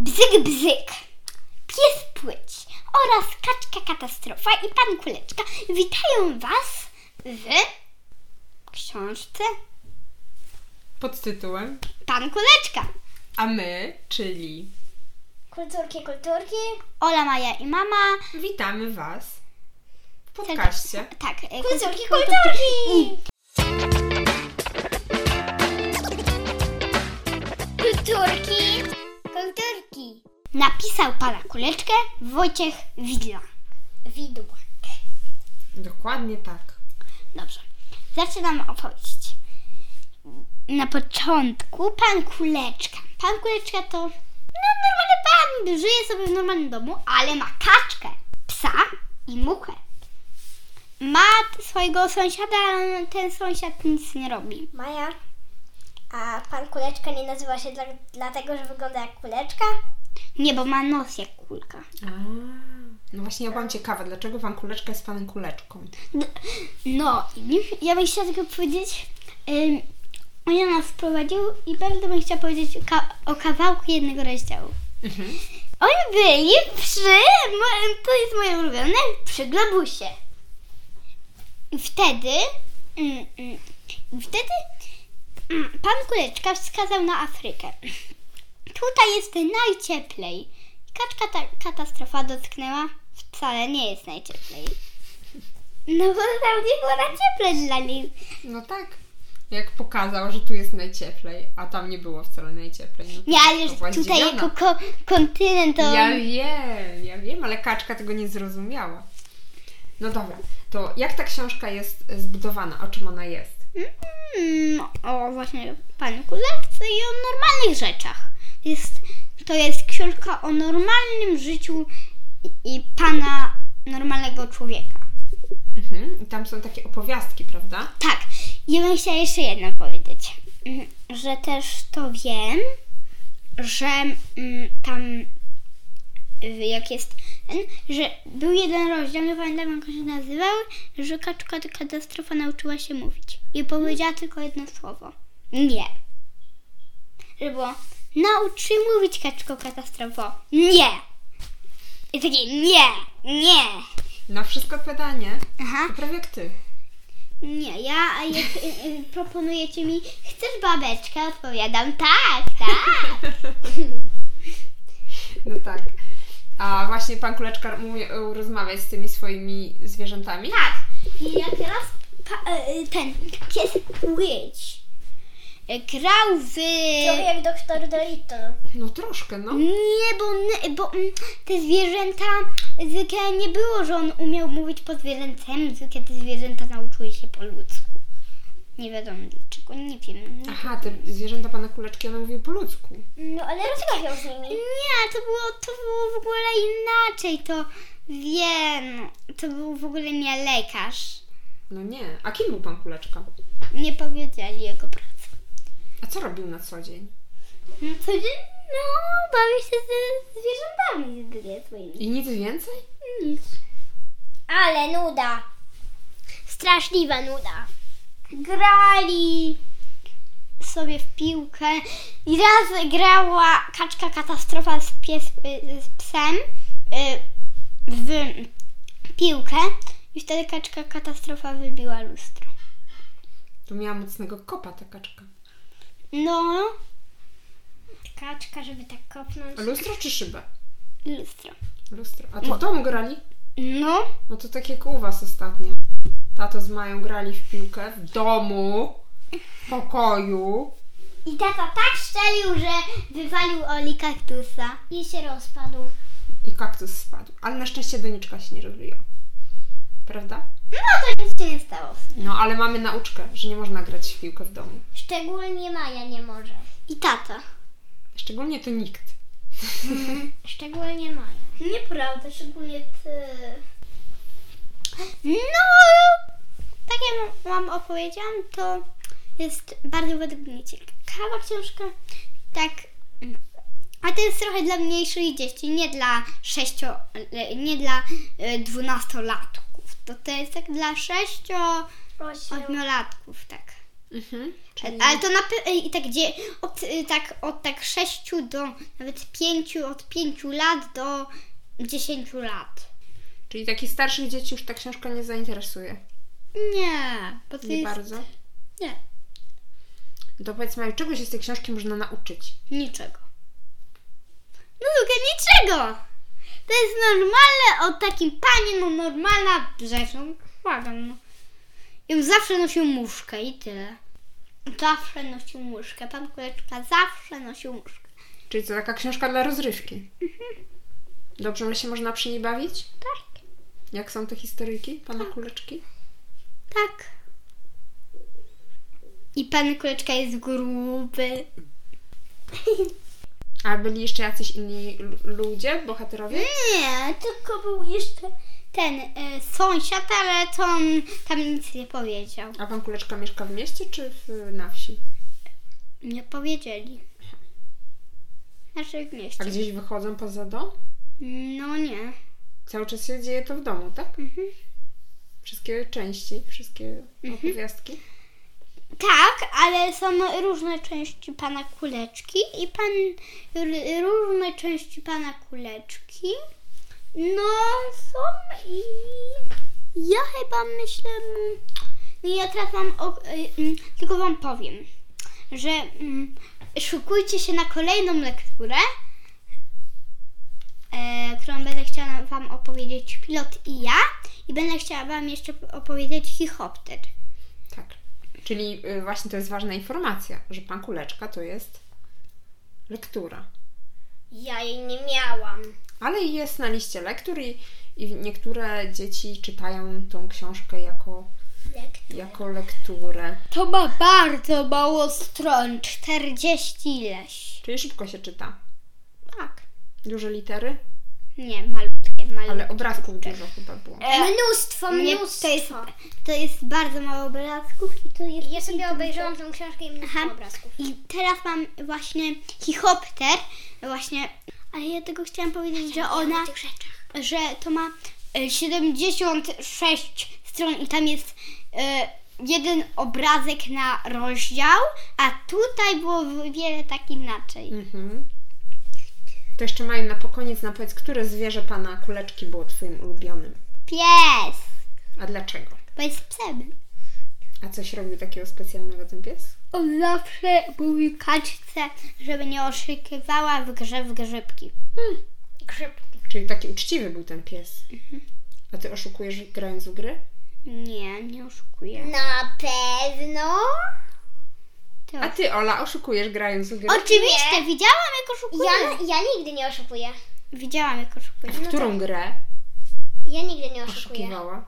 Bzyk Bzyk, Pies Płyć oraz Kaczka Katastrofa i Pan Kuleczka witają Was w książce Pod tytułem Pan Kuleczka. A my, czyli Kulturki, kulturki. Ola, Maja i mama. witamy Was w podcaście. Tak. e, Kulturki, kulturki. Kulturki! Kulturki! Napisał Pana Kuleczkę Wojciech Widla. Widła. Dokładnie tak. Dobrze, zaczynam opowieść. Na początku pan Kuleczka. Pan Kuleczka to no, normalny pan, żyje sobie w normalnym domu, ale ma kaczkę, psa i muchę. Ma t- swojego sąsiada, ale ten sąsiad nic nie robi. Maja, a pan kuleczka nie nazywa się dla, dlatego, że wygląda jak kuleczka? Nie, bo ma nos jak kulka. A, no właśnie ja byłam ciekawa, dlaczego Pan Kuleczka jest Panem Kuleczką? No i ja bym chciała tylko powiedzieć, ym, on nas wprowadził i bardzo bym chciała powiedzieć ka- o kawałku jednego rozdziału. Mhm. Oni byli przy, mo- to jest moje ulubione, przy globusie. I wtedy, mm, mm, i wtedy mm, pan Kuleczka wskazał na Afrykę. Tutaj jest najcieplej. Kaczka ta katastrofa dotknęła, wcale nie jest najcieplej. No bo tam nie było na cieple dla nich. No tak. Jak pokazał, że tu jest najcieplej, a tam nie było wcale najcieplej. No, Nie, to ale była że tutaj zdziwiona. jako ko kontynent to... Ja wiem, ja wiem, ale kaczka tego nie zrozumiała. No dobra, to jak ta książka jest e, zbudowana? O czym ona jest? Mm, o właśnie panu kulewce i o normalnych rzeczach. Jest, to jest książka o normalnym życiu i, i pana normalnego człowieka. Mhm. I tam są takie opowiastki, prawda? Tak, ja bym chciała jeszcze jedno powiedzieć, Mm, że też to wiem, że mm, tam y, jak jest ten, że był jeden rozdział, nie pamiętam jak on się nazywał, że kaczka ta katastrofa nauczyła się mówić i powiedziała tylko jedno słowo. Nie. Że było, naucz się mówić kaczko katastrofo. Nie. I takie nie, nie. Na wszystko odpowiadanie. Aha. To prawie jak ty. Nie, ja a jak y, y, proponujecie mi, chcesz babeczkę? Odpowiadam tak, tak. No tak. A właśnie pan Kuleczka umie rozmawiać z tymi swoimi zwierzętami? tak. I jak raz pa, y, ten pies płyć y, grał w... Trochę jak doktor Dolittle. No troszkę, no. Nie, bo, n- bo mm, te zwierzęta zwykle nie było, że on umiał mówić po zwierzęcemu, zwykle te zwierzęta nauczyły się po ludzku. Nie wiadomo dlaczego, nie wiem. Aha, te zwierzęta pana Kuleczki, one mówią po ludzku. No ale rozmawiał z nimi. Nie, to było, to było w ogóle inaczej. To wiem, to był w ogóle nie lekarz. No nie. A kim był pan Kuleczka? Nie powiedzieli jego pracy. A co robił na co dzień? No, co dzień, no, bawię się ze zwierzętami jedynie swoimi. I nic więcej? Nic. Ale nuda. Straszliwa nuda. Grali sobie w piłkę i raz grała kaczka katastrofa z, pies, y, z psem y, w piłkę i wtedy kaczka katastrofa wybiła lustro. Tu miała mocnego kopa ta kaczka. No, Kaczka, żeby tak kopnąć. Lustro czy szybę? lustro. Lustro. A tu w domu grali? No, No to tak jak u was ostatnio. Tato z Mają grali w piłkę w domu, w pokoju. i tata tak szczelił, że wywalił Oli kaktusa. I się rozpadł. I kaktus spadł. Ale na szczęście doniczka się nie rozwija. Prawda? No to nic się nie stało. No, ale mamy nauczkę, że nie można grać w piłkę w domu. Szczególnie Maja nie może. I tata. Szczególnie to nikt. Szczególnie Maja. Nieprawda, szczególnie ty. No, tak jak wam opowiedziałam, to jest bardzo według mnie ciekawa książka. Tak, a to jest trochę dla mniejszych dzieci, nie dla sześcio, nie dla e, dwunastolatków. To, to jest tak dla sześcio... Ośmiu. Ośmiolatków, tak. Mhm. Czyli Ale to na pe- i tak gdzie od, y, tak, od tak 6 do nawet 5, od 5 lat do 10 lat. Czyli takich starszych dzieci już ta książka nie zainteresuje. Nie, bo to Nie jest bardzo. nie, To powiedzmy, ale czego się z tej książki można nauczyć? niczego. No tylko niczego. To jest normalne od takim panie, no normalna rzecz, no błagam. No. I on zawsze nosił muszkę i tyle. Zawsze nosił muszkę, pan Kuleczka zawsze nosił muszkę. Czyli to taka książka dla rozrywki. Mhm. Dobrze, ale się można przy niej bawić? Tak, Jak są te historyjki pana Kuleczki? tak. I pan Kuleczka jest gruby. A byli jeszcze jacyś inni lu- ludzie, bohaterowie? Nie, Tylko był jeszcze ten y, sąsiad, ale to on tam nic nie powiedział. A pan Kuleczka mieszka w mieście czy w, na wsi? Nie powiedzieli. Znaczy w A mieście. gdzieś wychodzą poza dom? No nie. Cały czas się dzieje to w domu, tak? Wszystkie części, wszystkie opowiastki. Tak, ale są różne części pana kuleczki i pan r- różne części pana kuleczki. No są i ja chyba myślę, mm, no ja teraz wam o, y, mm, tylko wam powiem, że mm, szykujcie się na kolejną lekturę, e, którą będę chciała wam opowiedzieć pilot i ja i będę chciała wam jeszcze opowiedzieć hichopter. Tak. Czyli y, właśnie to jest ważna informacja, że pan Kuleczka to jest lektura. Ja jej nie miałam. Ale jest na liście lektur i, i niektóre dzieci czytają tą książkę jako, Lektur. jako lekturę. To ma bardzo mało stron, 40 ileś. Czyli szybko się czyta. Tak. Duże litery, Nie, malutkie, malutkie. E, ale obrazków dużo chyba było. Mnóstwo, Nie, mnóstwo. to, jest, to jest bardzo mało obrazków i to jest... Ja sobie obejrzałam tą książkę i mnóstwo Aha. obrazków. I teraz mam właśnie hichopter, właśnie... Ale ja tego chciałam powiedzieć, że ona... O tych rzeczach. że to ma e, 76 stron i tam jest e, jeden obrazek na rozdział, a tutaj było wiele tak inaczej. Mhm. To jeszcze Maju, na koniec nam powiedz, które zwierzę pana Kuleczki było twoim ulubionym? Pies! A dlaczego? Bo jest psem. A coś robił takiego specjalnego ten pies? On zawsze mówi kaczce, żeby nie oszukiwała w grze w grzybki. Grzybki. Czyli taki uczciwy był ten pies. Mhm. A ty oszukujesz grając w gry? Nie, nie oszukuję. Na pewno. To... A ty, Ola, oszukujesz grając w gry? No, Oczywiście, widziałam jak oszukuje. Ja, ja nigdy nie oszukuję. Widziałam jak oszukuje. A w którą grę Ja nigdy nie oszukuję. oszukiwała?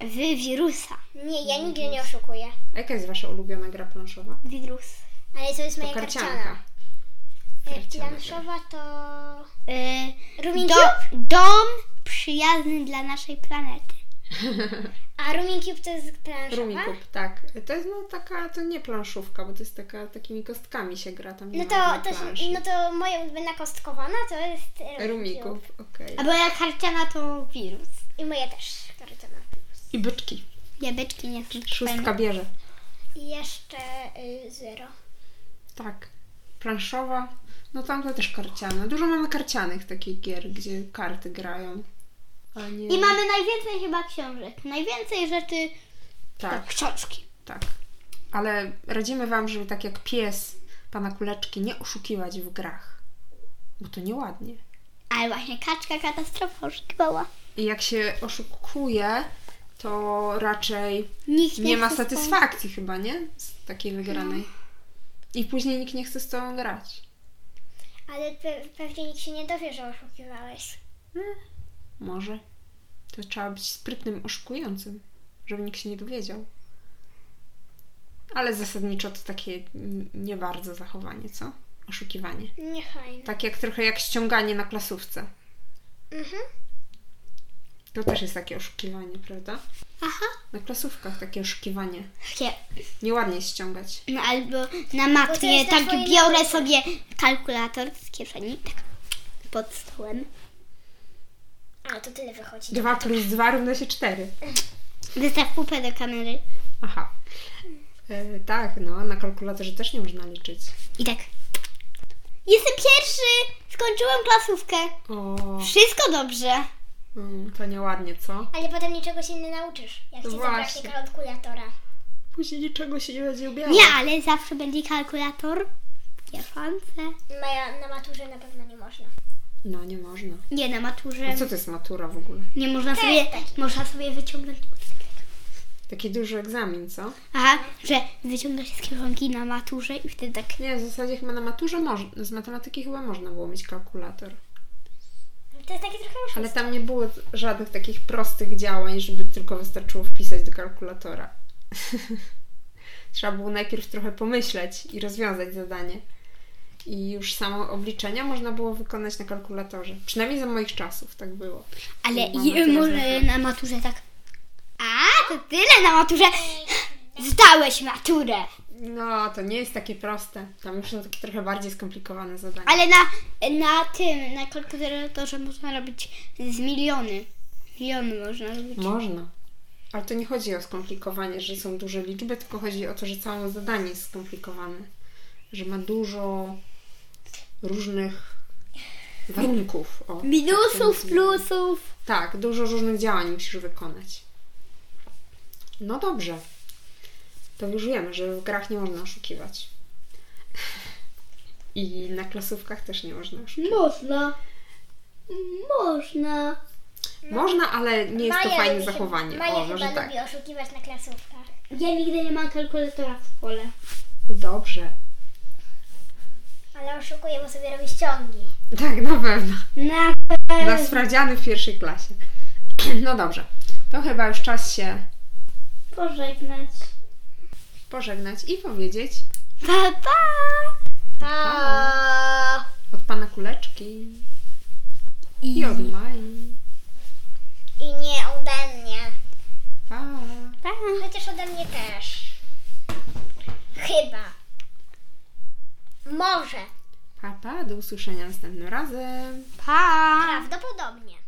W wirusa. Nie, ja nigdy nie oszukuję. A jaka jest wasza ulubiona gra planszowa? Wirus. Ale to jest To moja karciana. karcianka. E, Karciana. Planszowa to... Yy, Rumin do, Cube? dom przyjazny dla naszej planety. A Rumin Cube to jest planszowa? Rumikub, tak. To jest no taka, to nie planszówka, bo to jest taka, takimi kostkami się gra tam. nie No ma to, żadnej to, się- planszy. no to moja ulubiona kostkowana to jest e, Cube. Rumikub, okej. A bo jak karciana to wirus. I moja też. karciana. I byczki. Jabeczki nie są Szóstka fajne. bierze. I jeszcze y, zero. Tak. Planszowa. No tam to też karciane. Dużo mamy karcianych takich gier, gdzie karty grają. A nie... I mamy najwięcej chyba książek. Najwięcej rzeczy to Tak, książki. tak. Ale radzimy Wam, żeby tak jak pies pana kuleczki nie oszukiwać w grach. Bo to nieładnie. Ale właśnie kaczka katastrofa oszukiwała. I jak się oszukuje, to raczej Nikt nie ma chce z tobą- satysfakcji chyba, nie? Z takiej wygranej. No. I później nikt nie chce z tobą grać. Ale pe- pewnie nikt się nie dowie, że oszukiwałeś. Może. To trzeba być sprytnym oszukującym, żeby nikt się nie dowiedział. Ale zasadniczo to takie n- nie bardzo zachowanie, co? Oszukiwanie. Niechaj. Tak jak trochę jak ściąganie na klasówce. Mhm. To też jest takie oszukiwanie, prawda? Aha. Na klasówkach takie oszukiwanie. Takie, Nieładnie jest ściągać. no albo na Bo to matmie jest na tak twojej biorę nauce. sobie kalkulator z kieszeni, tak pod stołem. Ale to tyle wychodzi. 2 plus 2 równa się 4. Wystaw pupę do kamery. Aha. E, tak, no, na kalkulatorze też nie można liczyć. I tak. Jestem pierwszy! Skończyłem klasówkę. O, Wszystko dobrze. mm, to nieładnie, co? Ale potem niczego się nie nauczysz, jak ci zabraknie Właśnie. kalkulatora. Później niczego się nie będzie ubierało. Nie, ale zawsze będzie kalkulator. Ja fance. Moja, na maturze na pewno nie można. No, nie można. Nie, na maturze. A co to jest matura w ogóle? Nie można sobie, można sobie wyciągnąć. Taki duży egzamin, co? Aha, że wyciąga się z kieszonki na maturze i wtedy tak. Nie, w zasadzie chyba na maturze moż- z matematyki chyba można było mieć kalkulator. To jest takie trochę Ale oszustwo. tam nie było żadnych takich prostych działań, żeby tylko wystarczyło wpisać do kalkulatora. Trzeba było najpierw trochę pomyśleć i rozwiązać zadanie. I już samo obliczenia można było wykonać na kalkulatorze. Przynajmniej za moich czasów tak było. Ale Mam je, maturę może zdać. na maturze tak. A, to tyle na maturze. Zdałeś maturę. No, to nie jest takie proste. Tam już są takie trochę bardziej skomplikowane zadania. Ale na, na tym, na kalkulatorze można robić z miliony. Miliony można robić. Można. Ale to nie chodzi o skomplikowanie, że są duże liczby, tylko chodzi o to, że całe zadanie jest skomplikowane. Że ma dużo różnych warunków. O, tak to Minusów, nazwijmy. plusów. Tak, dużo różnych działań musisz wykonać. No dobrze. To już wiemy, że w grach nie można oszukiwać. I na klasówkach też nie można oszukiwać. Można. Można. Można, ale nie jest to No. Maja fajne lubi się- zachowanie. Maja O, chyba może tak. lubi oszukiwać na klasówkach. Ja nigdy nie mam kalkulatora w szkole. Dobrze. Ale oszukuje, bo sobie robi ściągi. Tak, na pewno. Na Dla sprawdziany w pierwszej klasie. No dobrze, to chyba już czas się pożegnać. pożegnać i powiedzieć Pa, pa! Tak. Pa! od pana kuleczki i od Mai. I nie ode mnie. Pa! pa. Chociaż ode mnie też. Chyba. Może. Pa, pa, do usłyszenia następnym razem. Pa! Tak. Prawdopodobnie.